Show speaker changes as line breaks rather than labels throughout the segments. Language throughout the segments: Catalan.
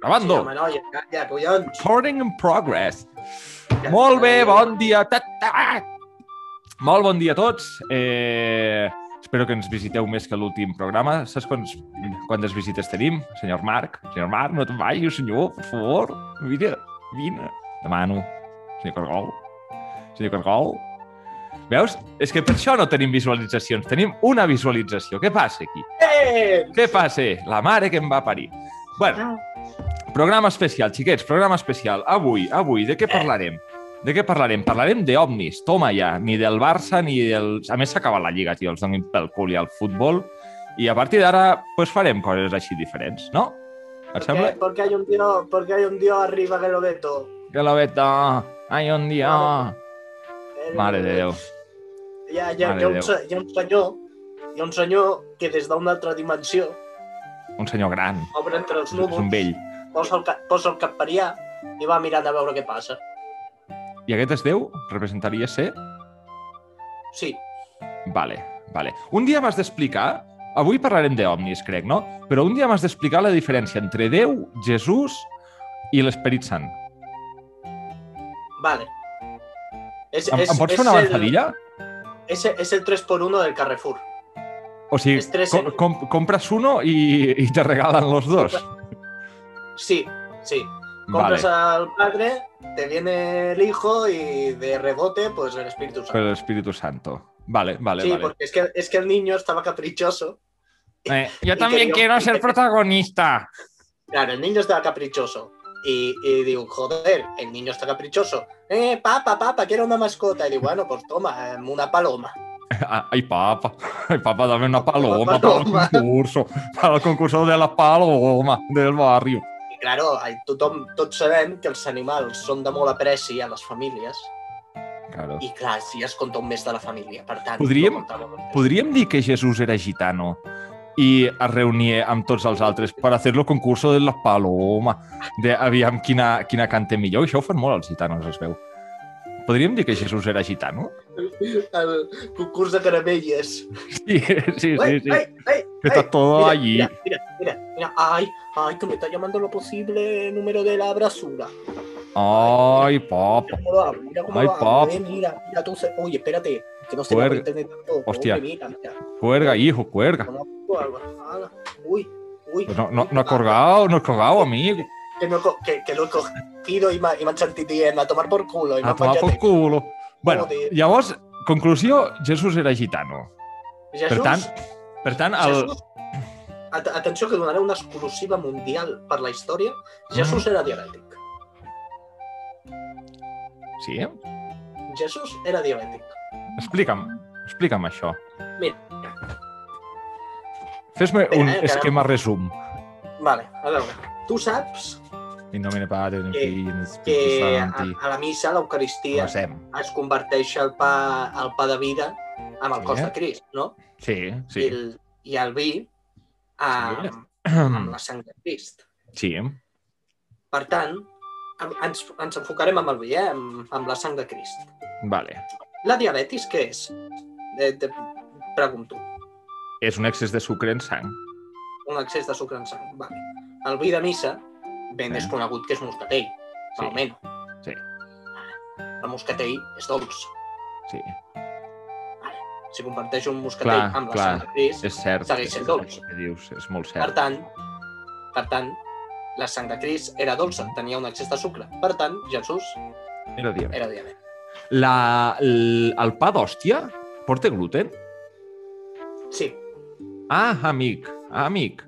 Grabando.
Sí, home, noia, calla, collons.
Recording in progress. Molt bé, bon dia. Ta, ta. Molt bon dia a tots. Eh, espero que ens visiteu més que l'últim programa. Saps quants, quantes visites tenim, senyor Marc? Senyor Marc, no te'n vagis, senyor, per favor. Vine, vine. Demano. Senyor Cargol. Senyor Cargol. Veus? És que per això no tenim visualitzacions. Tenim una visualització. Què passa aquí?
Eh!
Què passa? La mare que em va parir. Bueno, programa especial, xiquets, programa especial. Avui, avui, de què parlarem? De què parlarem? Parlarem d'ovnis, toma ja, ni del Barça ni del... A més, s'ha acabat la Lliga, tio, els donin pel cul i al futbol. I a partir d'ara, pues, farem coses així diferents, no? Et sembla?
Porque, porque hay un tío, porque hay un tío arriba que lo ve todo.
Que la veta... Ai, on dia...
Eh,
Mare de Déu.
Hi ha, hi
Mare
ha, hi ha,
de
un,
Déu.
se- hi ha un senyor, hi ha un senyor que des d'una altra dimensió
Un senyor gran.
obre entre els
És
núvols,
un vell.
posa, el, ca- posa el cap per allà i va mirant a veure què passa.
I aquest és Déu? Representaria ser?
Sí,
Vale, vale. Un dia m'has d'explicar... Avui parlarem d'òmnis, crec, no? Però un dia m'has d'explicar la diferència entre Déu, Jesús i l'Esperit Sant.
vale. És,
Em, em pots fer una avançadilla?
El, és, és el 3x1 del Carrefour.
O sigui,
és tres
com,
en un.
com, compres uno i, i te regalen los dos.
Sí, sí.
Vale,
Compras al padre, te viene el hijo y de rebote, pues el Espíritu Santo.
per l'Espíritu Santo. Vale, vale,
sí,
vale.
porque es que, es que el niño estaba caprichoso.
Eh, yo
y
también
quería-
quiero
y
ser
quería-
protagonista.
Claro, el niño estaba caprichoso. Y, y digo, joder, el niño está caprichoso. Eh, papá, papá, quiero una mascota. Y digo, bueno, pues toma, em, una paloma.
Ah, Ay, papa. Ay, papa, dame una paloma para el
paloma.
concurso. Para el concurso de la paloma del barrio.
I claro, ai, tothom, tots sabem que els animals són de molt apreci a les famílies.
Claro.
I clar, si es compta un més de la família. Per tant,
Podríem-
no comptava molt.
Podríem dir que Jesús era gitano i es reunia amb tots els altres per fer el concurs de la paloma, de aviam quina, quina canta millor. Això ho fan molt els gitanos, es veu. Podríem dir que Jesús era gitano?
El concurs de caramelles.
Sí, sí, sí. sí.
Ay, ay,
Que
ay.
está todo
mira,
allí.
Mira, mira, mira, mira. Ay, ay, que me está llamando lo posible número de la abrasura.
Ay, papa.
Mira cómo va, mira cómo
Ay,
va.
pap.
Eh, mira, mira, tú se... Oye, espérate, que no se va
Puerga.
a internet tampoco.
Hostia.
Hombre, Mira, mira.
Cuerga, hijo, cuerga.
Conozco algo. Ah, Uy, uy. Ah,
Pues No, no, no ha colgado, no ha colgado, amigo.
Que, no, he co- que, que lo he cogido y me, y eh, me han sentido a tomar por culo. Y me
A
han
tomar
penjat
por
aquí.
culo. Bueno,
Joder.
llavors, conclusió, Jesús era gitano. Per
Jesús,
tant, per tant el...
Jesús, at- atenció que donaré una exclusiva mundial per la història.
Mm.
Jesús era diabètic.
Sí?
Jesús era diabètic.
Explica'm, explica'm això.
Mira.
Fes-me
Espera,
un
eh, encara-
esquema resum.
Vale, a veure. Tu saps
In nomine Patris, in
Que-
Filii,
que
Spiritus
a,
Sancti.
a la missa, a l'Eucaristia,
Passem.
es converteix el pa, el pa de vida amb el
Sí.
cos de Crist, no?
Sí,
I,
sí.
el, I el vi amb, amb la sang de Crist.
Sí.
Per tant, em- ens, ens enfocarem amb el vi, eh? amb, amb la sang de Crist.
Vale.
La diabetis, què és? De, de, pregunto.
És un excés de sucre en sang.
Un excés de sucre en sang. Vale. El vi de missa, ben
Sí.
desconegut que és moscatell,
Sí.
sí. almenys.
Sí.
El moscatell és dolç.
Sí,
Si comparteix un moscatell
Clar,
amb la
clar.
sang de Crist,
és cert.
Segueix sent
És
dolç.
el Que dius, és molt
Per
cert.
tant, per tant, la sang de Crist era dolça, tenia un excés de sucre. Per tant, Jesús
Era diabètic.
era diabètic.
La, l, el pa d'hòstia porta gluten?
Sí,
Ah, amic, amic,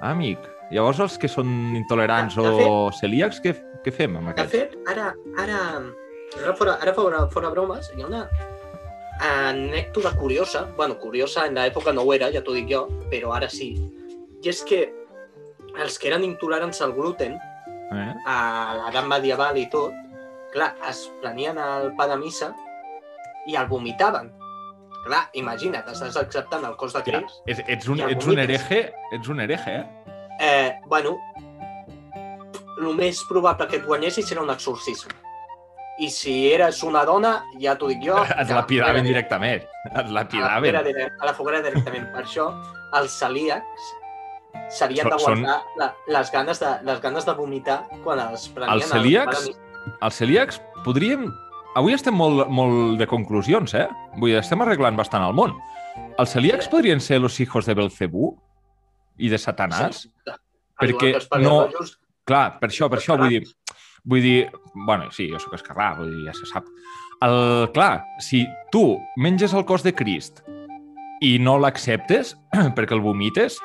amic. Llavors els que són intolerants
De- de
o celíacs, què, què fem amb
de
aquests?
fet, ara, ara, ara fora, ara fora, fora bromes, hi ha una anècdota curiosa, bueno, curiosa en l'època no ho era, ja t'ho dic jo, però ara sí, i és que els que eren intolerants al gluten,
Eh?
a l'edat medieval i tot, clar, es prenien el pa de missa i el vomitaven. Clar, imagina't, estàs acceptant el cos de
Ja,
Crist.
és, ets, un,
Hi ha
ets un
vomites.
hereje, ets un hereje, eh?
Eh, bueno, el més probable que et guanyessis era un exorcisme. I si eres una dona, ja Ah, t'ho dic jo...
Et
que
lapidaven
era-
directament, eh? et
a la foguera
lapidaven.
direc- A la foguera directament. Per això, els celíacs s'havien
Són-
de guardar la, les, ganes de, les ganes de vomitar quan es prenien...
Els celíacs?
el-
Els celíacs podríem... Avui estem molt, molt de conclusions, eh? Vull dir, estem arreglant bastant el món. Els celíacs podrien ser los hijos de Belcebú i de Satanàs?
Sens dubte.
Perquè
Igual que els pares
no-
rojos,
Clar, per això, per això,
Escarrà.
vull dir... Vull dir... Bueno, sí, jo sóc esquerrà, vull dir, ja se sap. El, clar, si tu menges el cos de Crist i no l'acceptes perquè el vomites,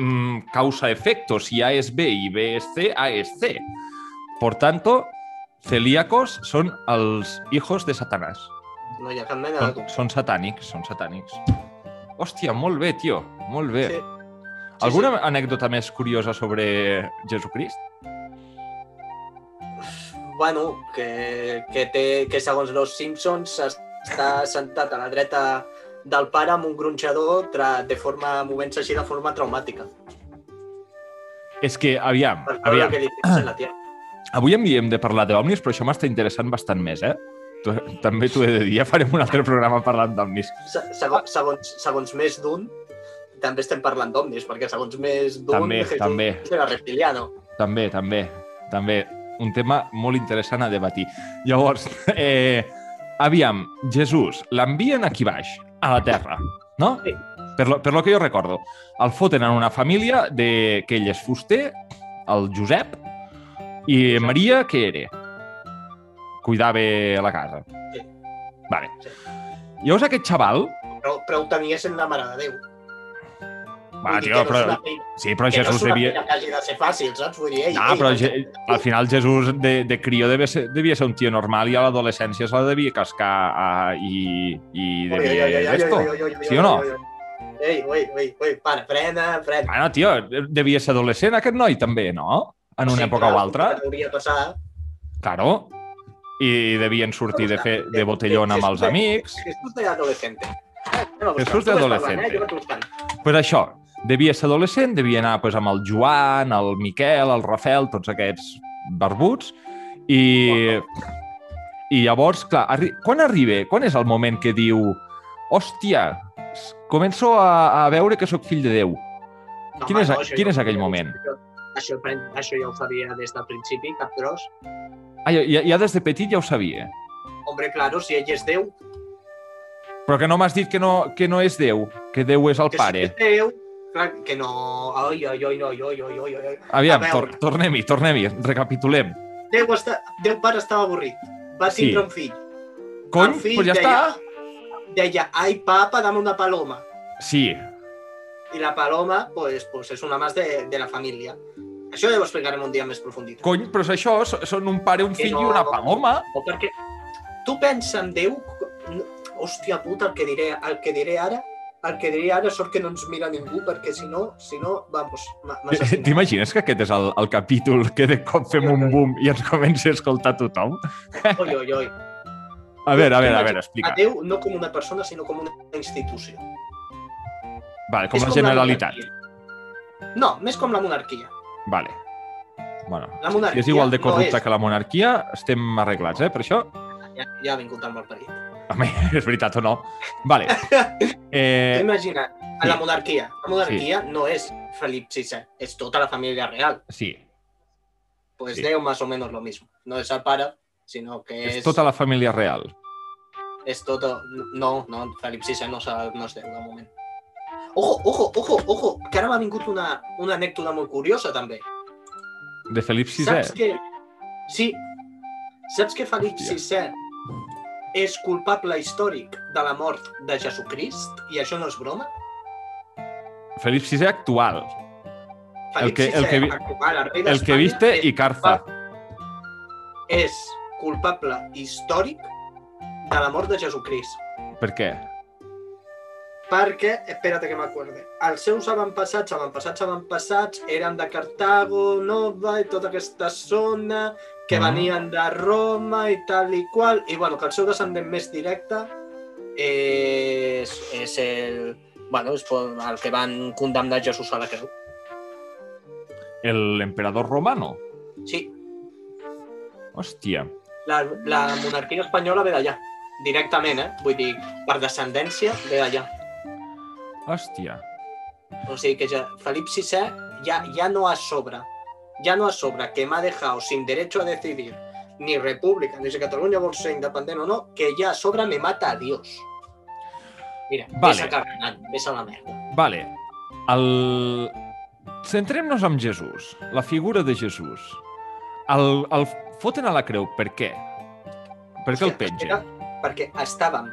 mm, causa efecto. Si A és B i B és C, A és C. Por tanto, celíacos són els hijos de Satanàs.
No hi ha cap mena de...
Són, són satànics, són satànics. Hòstia, molt bé, tio, molt bé.
Sí. sí.
Alguna anècdota més curiosa sobre Jesucrist?
Bueno, que, que, té, que segons los Simpsons està sentat a la dreta del pare amb un gronxador tra, de forma movent-se així de forma traumàtica.
És que, aviam,
Per Doncs veure
aviam,
què li tens en la tia.
avui en dia hem de parlar d'òmnis, però això m'està interessant bastant més, eh? Tu, també t'ho he de dir, ja farem un altre programa parlant d'òmnis.
Se- Segons, segons, segons més d'un, també estem parlant d'omnis, perquè segons més d'un...
També,
Jesús
també.
Era reptiliano.
També, també, també. Un tema molt interessant a debatir. Llavors, eh, aviam, Jesús, l'envien aquí baix, a la Terra, no?
Sí.
Per lo, per lo que jo recordo, el foten en una família de, que ell és fuster, el Josep, i Maria, que era? Cuidava la casa.
Sí.
Vale.
Sí.
Llavors aquest xaval...
Però, però ho teniessin la Mare de Déu.
Va,
Vull dir
tio,
que no és
però...
una feina-
Sí, però
que no
Jesús
és una
devia...
feina que hagi de ser fàcil, saps? Vull dir, ei,
No,
ei,
però
no-
ge- al final Jesús de, de crió devia ser, devia ser un tio normal i a l'adolescència se la devia cascar a, i, i
Oi, oi,
devia
oi, oi, oi,
d'esto.
oi, oi, oi, oi,
sí o no?
oi, oi, oi. Ei, oi, oi, oi, para, frena, frena.
Bueno, tio, devia ser adolescent aquest noi també, no? En una
Sí,
època
clar,
o altra,
Hauria passat.
claro. I devien sortir de, fer, de botellón amb els amics.
Jesús de adolescente. Ah, no,
Jesús
buscant,
de
tu vas
adolescente.
parlant, eh, jo vaig buscant.
pues això, devia ser adolescent, devia anar pues, amb el Joan, el Miquel, el Rafel, tots aquests barbuts, i, i llavors, clar, arri quan arriba, quan és el moment que diu hòstia, s- començo a, a veure que sóc fill de Déu.
No,
Quin
home,
és a-
no, això
quin
ja
és
ho
aquell
sabia,
moment?
Això, això, pren- això ja ho sabia des del principi, cap tros.
Ah, ja, ja des de petit ja ho sabia.
Hombre, claro, si ell és Déu,
Però que no m'has dit que no, que no és Déu, que Déu és el
que
pare.
si és Déu, clar, que no... Ai, ai, ai, ai, ai, ai, ai, ai.
Aviam,
A veure.
tor tornem-hi, tornem-hi, recapitulem.
Déu, està... Déu pare estava avorrit. Va
Sí.
tindre un fill.
Cony,
El
doncs
fill
pues ja està.
deia- Deia, ai, papa, dame una paloma.
Sí,
i la paloma pues, pues és una més de, de la família. Això ja ho explicarem un dia amb més profunditat.
cony, però és això, so- són un pare, un
Que
fill i
no.
una paloma.
O perquè tu pensa en Déu, no- hòstia puta, el que diré, el que diré ara, el que diré ara sort que no ens mira ningú, perquè si no, si no, vamos, m'ha- m'assassinen.
T'imagines que aquest és el, el capítol que de cop fem un boom i ens comença a escoltar tothom?
Oi, oi, oi.
A veure, a veure, a veure,
A
explica.
Déu no com una persona, sinó com una institució.
Vale, com
És
la generalitat.
monarquia. No, més com la monarquia.
Vale. Bueno,
La
si
monarquia
és igual de
no
corrupta
és.
que la monarquia, estem arreglats, eh, per això?
Ja, ja ha vingut el malparit.
Home, és veritat o no? Vale.
Eh,
Eh,
Imagina, a la
sí.
monarquia. La monarquia no és Felip VI, és tota la família real.
sí,
Pues
Sí.
Déu más o menos lo mismo. No es al para, sino que es,
és tota la família real.
es todo... No, no, Felip VI no, s'ha- no es Déu de moment. Ojo, ojo, ojo, ojo, que ara m'ha vingut una, una anècdota molt curiosa, també.
De Felip
Saps
VI.
que... Sí. Saps que Felip VI és culpable històric de la mort de Jesucrist? I això no és broma?
Felip VI actual.
Felip
que- el
VI
que vi-
actual, el rei
El que
d'Espanya,
viste
és
i Carza.
és culpable històric de la mort de Jesucrist.
Per què?
Perquè, espérate que m'acorde, els seus avantpassats, avantpassats, avantpassats, eren de Cartago, Nova i tota aquesta zona, que
Mm.
venien de Roma i tal i qual, i bueno, que el seu descendent més directe és, és el, bueno, és el que van condemnar Jesús a la creu.
L'emperador romano?
Sí,
Hòstia.
la, la monarquia espanyola ve d'allà, directament, eh? Vull dir, per descendència ve d'allà.
Hòstia.
O sigui que ja, Felip VI ja, ya no asobra, ya no asobra, que me ha dejado sin derecho a decidir ni república, ni si Cataluña vol ser independent o no, que ya sobra me mata a Dios. Mira,
Vale.
vale. ves a carregar, ves a la merda.
Vale. El... Centrem-nos en Jesús, la figura de Jesús. El, el foten a la creu, per què? Per què el
Era
pengen?
perquè estàvem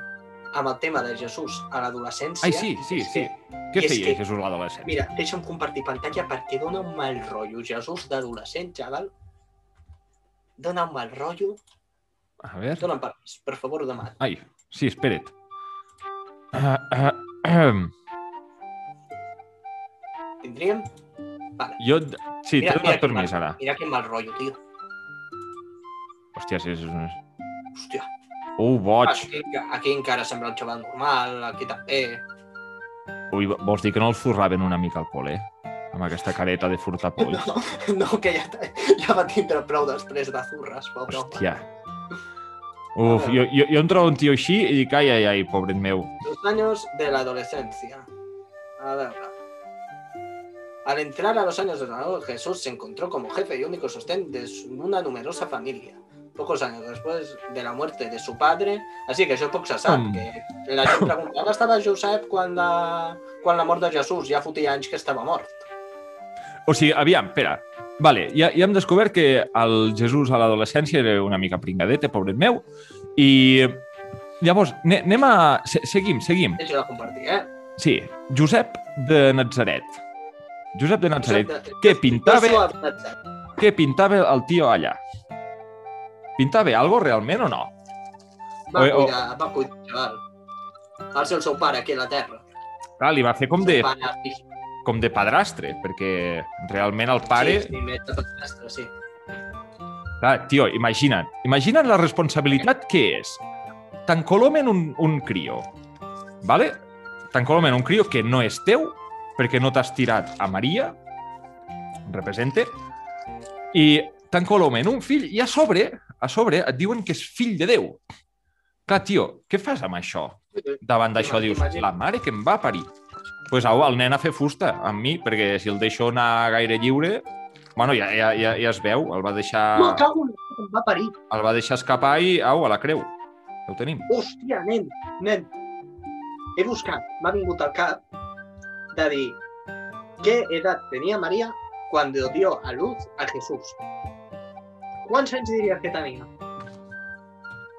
amb el tema de Jesús a l'adolescència.
Ai, sí, sí,
És
sí.
que,
Què
és
feia
que-
Jesús l'adolescent?
Mira, deixa'm compartir pantalla perquè dona un mal rotllo. Jesús d'adolescent, xaval. Dona un mal rotllo.
A veure...
Dóna'm permís, per favor, demà.
Ai, sí, espera't. Ah, ah, ahem.
Tindríem... Vale.
Jo... et- Sí, t'he
Mira, mira
donat
quin
permís,
mal-
ara.
Mira quin mal rotllo, tio.
Hòstia, sí, sí, sí.
Hòstia.
Uh, boig.
Aquí, aquí encara sembla un xaval normal, aquí també. Ah.
Ui, vols dir que no el zurraven una mica al col·le? Amb aquesta careta de furtar polls.
No, no que ja, ja va tindre prou després de zurres, pobre home.
Hòstia. Uf, jo, jo, jo em trobo un tio així i dic, ai, ai, ai, pobret meu.
Los años de la adolescencia. A ver. Al entrar a los años de la edad, Jesús se encontró como jefe y único sostén de su- una numerosa familia. Pocos años después de la muerte de su padre, así que això poc se sap,
Mm.
que la gent pregunta, on estava Josep quan la, quan la mort de Jesús? Ja fotia anys que estava mort.
O sigui, aviam, espera. Vale, ja, ja hem descobert que el Jesús a l'adolescència era una mica pringadeta, pobret meu, i llavors ne- anem a... se- Seguim, seguim.
Ells la compartir, eh?
Sí, Josep de Nazaret. Josep de Nazaret.
Josep de-
Què pintava,
Joshua de Nazaret.
què pintava el tio allà? Pintava algo realment o no?
Va
Oi, oh. o-
cuidar, va cuidar, xaval. Va ser el seu pare aquí a la terra.
Clar, li va fer com
El
de,
seu pare, sí,
com de padrastre, perquè realment el pare...
Sí, sí, més de padrastre, sí.
Clar, tio, imagina't. Imagina't la responsabilitat que és. T'encolomen un, un crio, vale? t'encolomen un crio que no és teu, perquè no t'has tirat a Maria, representa, i t'encolomen un fill i a sobre, a sobre et diuen que és fill de Déu. Clar, tio, què fas amb això? Davant d'això dius,
Imagina't.
la mare que em va parir. Doncs pues, au, el nen a fer fusta amb mi, perquè si el deixo anar gaire lliure... Bueno, ja, ja, ja, ja es veu, el va deixar...
No, cago en la que em va parir.
El va deixar escapar i, au, a la creu. Ja ho tenim.
Hòstia, nen, nen. He buscat, m'ha vingut al cap de dir què edat tenia Maria quan dio a luz a Jesús. Quants anys diries que tenia?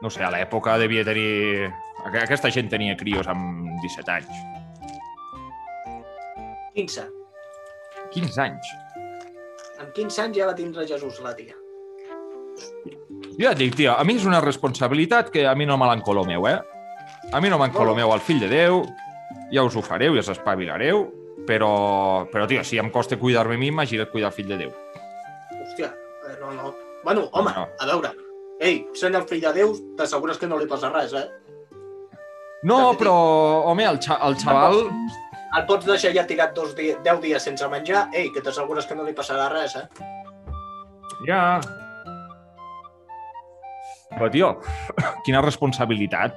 No sé, a l'època devia tenir... Aqu- Aquesta gent tenia crios amb 17 anys.
15.
15 anys.
Amb 15 anys ja va tindre Jesús, la tia.
Jo ja et dic, tio, a mi és una responsabilitat que a mi no me l'encolomeu, eh? A mi no m'encolomeu el fill de Déu, ja us ho fareu, ja us espavilareu, però, però tio, si em costa cuidar-me a mi, imagina't cuidar el fill de Déu.
Hòstia, eh, no, no. Bueno, home,
No.
a veure. Ei, sent el fill de Déu, t'assegures que no li passa res, eh?
No, però, home, el, xa el xaval...
El pots deixar ja tirat dos di 10 dies sense menjar, ei, que t'assegures que no li passarà res, eh?
Ja... Però, tio, quina responsabilitat.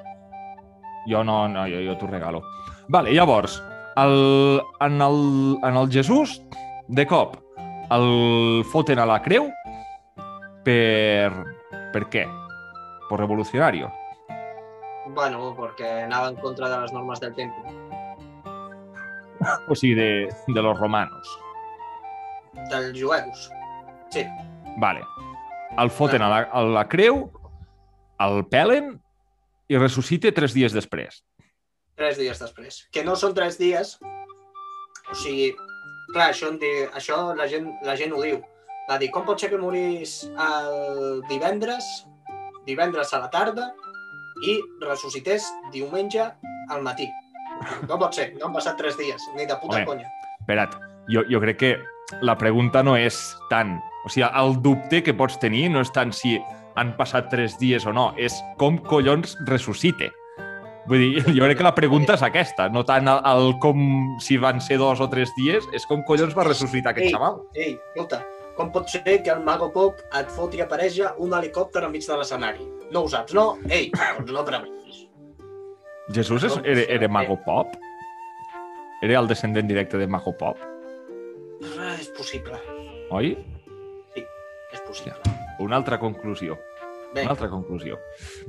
Jo no, no jo, jo t'ho regalo. Vale, llavors, el, en, el, en el Jesús, de cop, el foten a la creu per... per què? Per revolucionari.
Bueno, perquè anava en contra de les normes del temple.
O sigui, de, de los romanos.
dels jueus.
Vale. El foten a la, a la creu, el pelen i ressuscita tres dies després.
Tres dies després. Que no són tres dies, o sigui, clar, això, en di... això la, gent, la gent ho diu. Va dir, com pot ser que morís el divendres, divendres a la tarda, i ressuscités diumenge al matí? No pot ser, no han passat tres dies, ni de puta
Home.
conya.
Espera't, jo, jo crec que la pregunta no és tant... O sigui, el dubte que pots tenir no és tant si han passat tres dies o no, és com collons ressuscite. Vull dir, jo crec que la pregunta és aquesta, no tant el, el com si van ser dos o tres dies, és com collons va ressuscitar aquest
Ei.
xaval.
Ei, escolta, com pot ser que el Mago Pop et foti a pareja un helicòpter enmig de l'escenari? No ho saps, no? Ei, doncs no prevenis.
Jesús és, era, era mago pop? Era el descendent directe de Mago Pop,
Ah, és possible,
oi?
és possible.
Una altra conclusió.
Bé,
Una altra conclusió.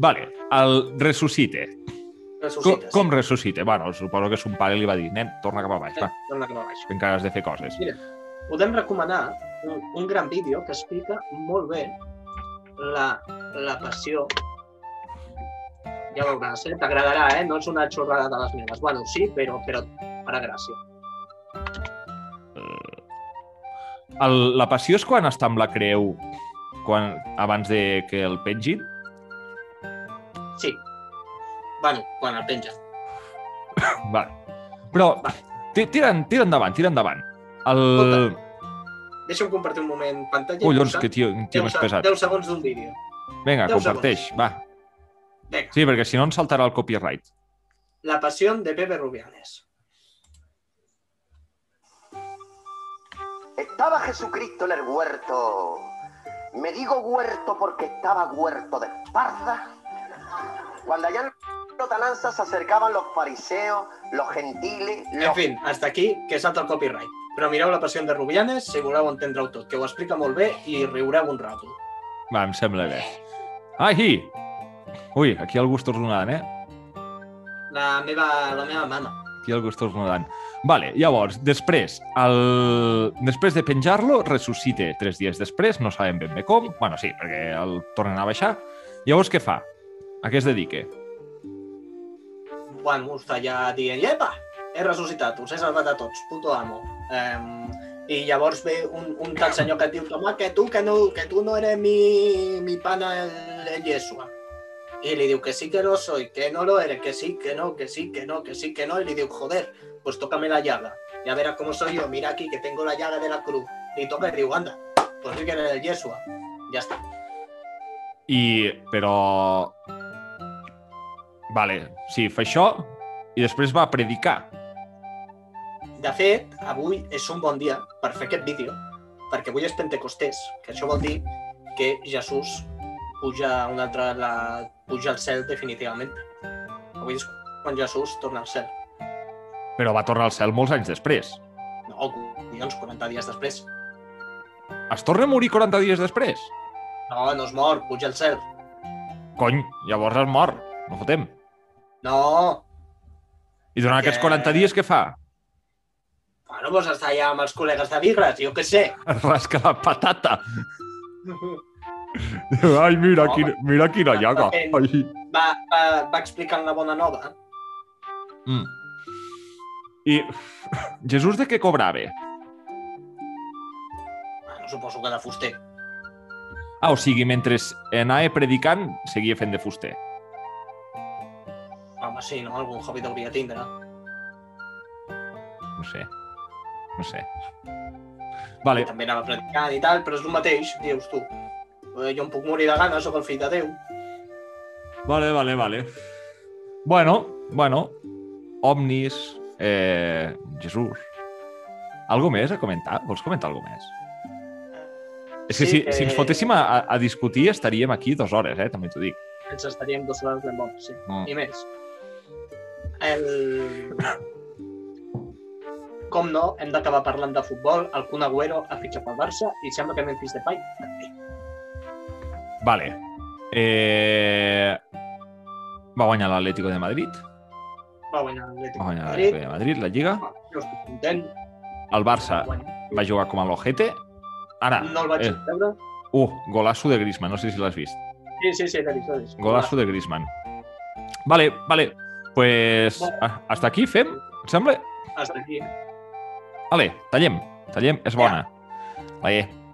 Vale, el ressuscite. Com,
ressuscites.
com ressuscite? Bueno, suposo que son pare li va dir, nen, torna cap a baix, va,
Torna cap a baix.
que encara has de fer coses.
podem recomanar un, un gran vídeo que explica molt bé la, la passió. Ja veuràs, eh? t'agradarà, eh? no és una xorrada de les meves. Bueno, sí, però, però farà gràcia.
El, la passió és quan està amb la creu quan, abans de que el pengin?
Sí. Bueno, quan el penja.
Vale. Però
Va.
ti- tira, en- tira endavant, tira endavant. El...
Deixa'm compartir un moment pantalla.
Collons, que tio, un tio més
se-
pesat.
10 segons d'un vídeo.
Vinga,
deu
comparteix, va.
Vinga.
Sí, perquè si no ens saltarà el copyright.
La pasión de Pepe Rubianes.
Estaba Jesucristo en el huerto. Me digo huerto porque estaba huerto de espalda. Cuando allá en Lontananza se acercaban los fariseos, los gentiles,
En
los
fin, hasta aquí, que salta el copyright. Però mireu la passió de Rubianes si voleu entendre-ho tot, que ho explica molt bé i riureu un rato.
Va, em sembla bé. Ai! Ui, aquí algú està ordenant, eh?
La meva, la meva mama.
Aquí algú està ordenant. Vale, llavors, després, el... després de penjar-lo, ressuscita tres dies després, no sabem ben bé com. Bueno, sí, perquè el tornen a baixar. Llavors, què fa? A què es dedica?
Bueno, està ja dient, epa, he ressuscitat, us he salvat a tots, puto amo. Um, I llavors ve un, un tal senyor que et diu, home, que tu, que no, que tu no eres mi, mi pana el, el Yeshua. I li diu que sí que no soy, que no lo eres, que sí, que no, que sí, que no, que sí, que no. Y li diu, joder, pues tócame la llaga. Ya verás cómo soy yo, mira aquí que tengo la llaga de la cruz. Y toca y diu, anda, pues sí que eres el Yeshua. Ya está.
I, però... Vale, sí, fa això i després va a predicar.
De fet, avui és un bon dia per fer aquest vídeo, perquè avui és Pentecostés, que això vol dir que Jesús puja, un altre, la, puja al cel definitivament. Avui és quan Jesús torna al cel.
Però va tornar al cel molts anys després.
No, collons, 40 dies després.
Es torna a morir 40 dies després?
No, no es mor, puja al cel.
Cony, llavors es mor. No fotem.
No!
I durant
Que-
aquests 40 dies què fa?
Bueno, doncs està allà amb els col·legues de Vigres, jo què sé.
Es rasca la patata. Ai, mira,
No,
quin, mira quina
està
llaga.
fent-
Ai.
Va, va, va explicant la bona nova.
Mm. I Jesús de què cobrava?
Bueno, suposo que de fuster.
Ah, o sigui, mentre anava predicant, seguia fent de fuster.
Home, sí, no? Algun hobby hauria de tindre.
No sé. No sé. Vale,
també anava predicant i tal, però és el mateix, dius tu. eh, Jo em puc morir de gana, sóc el fill de Déu.
Vale, vale, vale. Bueno, bueno. Omnis, eh, Jesús. Algo més a comentar? Vols comentar alguna més? És que
Sí,
si, si ens
eh,
fotéssim a, a- a discutir estaríem aquí dues hores, eh? també t'ho dic.
Ens estaríem dues hores de mort, sí.
No.
I més. El... Com no, hem d'acabar parlant de futbol. El Kun Agüero ha fitxat pel Barça i sembla que Memphis Depay també.
Vale. Eh... Va guanyar l'Atlético de Madrid.
Va guanyar l'Atlètic
Va
de
guanyar
Madrid.
l'Atlético de Madrid, la Lliga.
Ah, Jo estic content.
El Barça
Guanya.
va jugar com a l'Ojete. Ara,
No el vaig
eh,
veure.
uh, golaço de Griezmann, no sé si l'has vist.
Sí, sí, sí, l'he vist, l'he vist.
Golazo de Griezmann. Vale, vale. Pues ah, hasta aquí fem, et sembla?
Hasta aquí.
Vale, tallem. Tallem, és bona. Vale.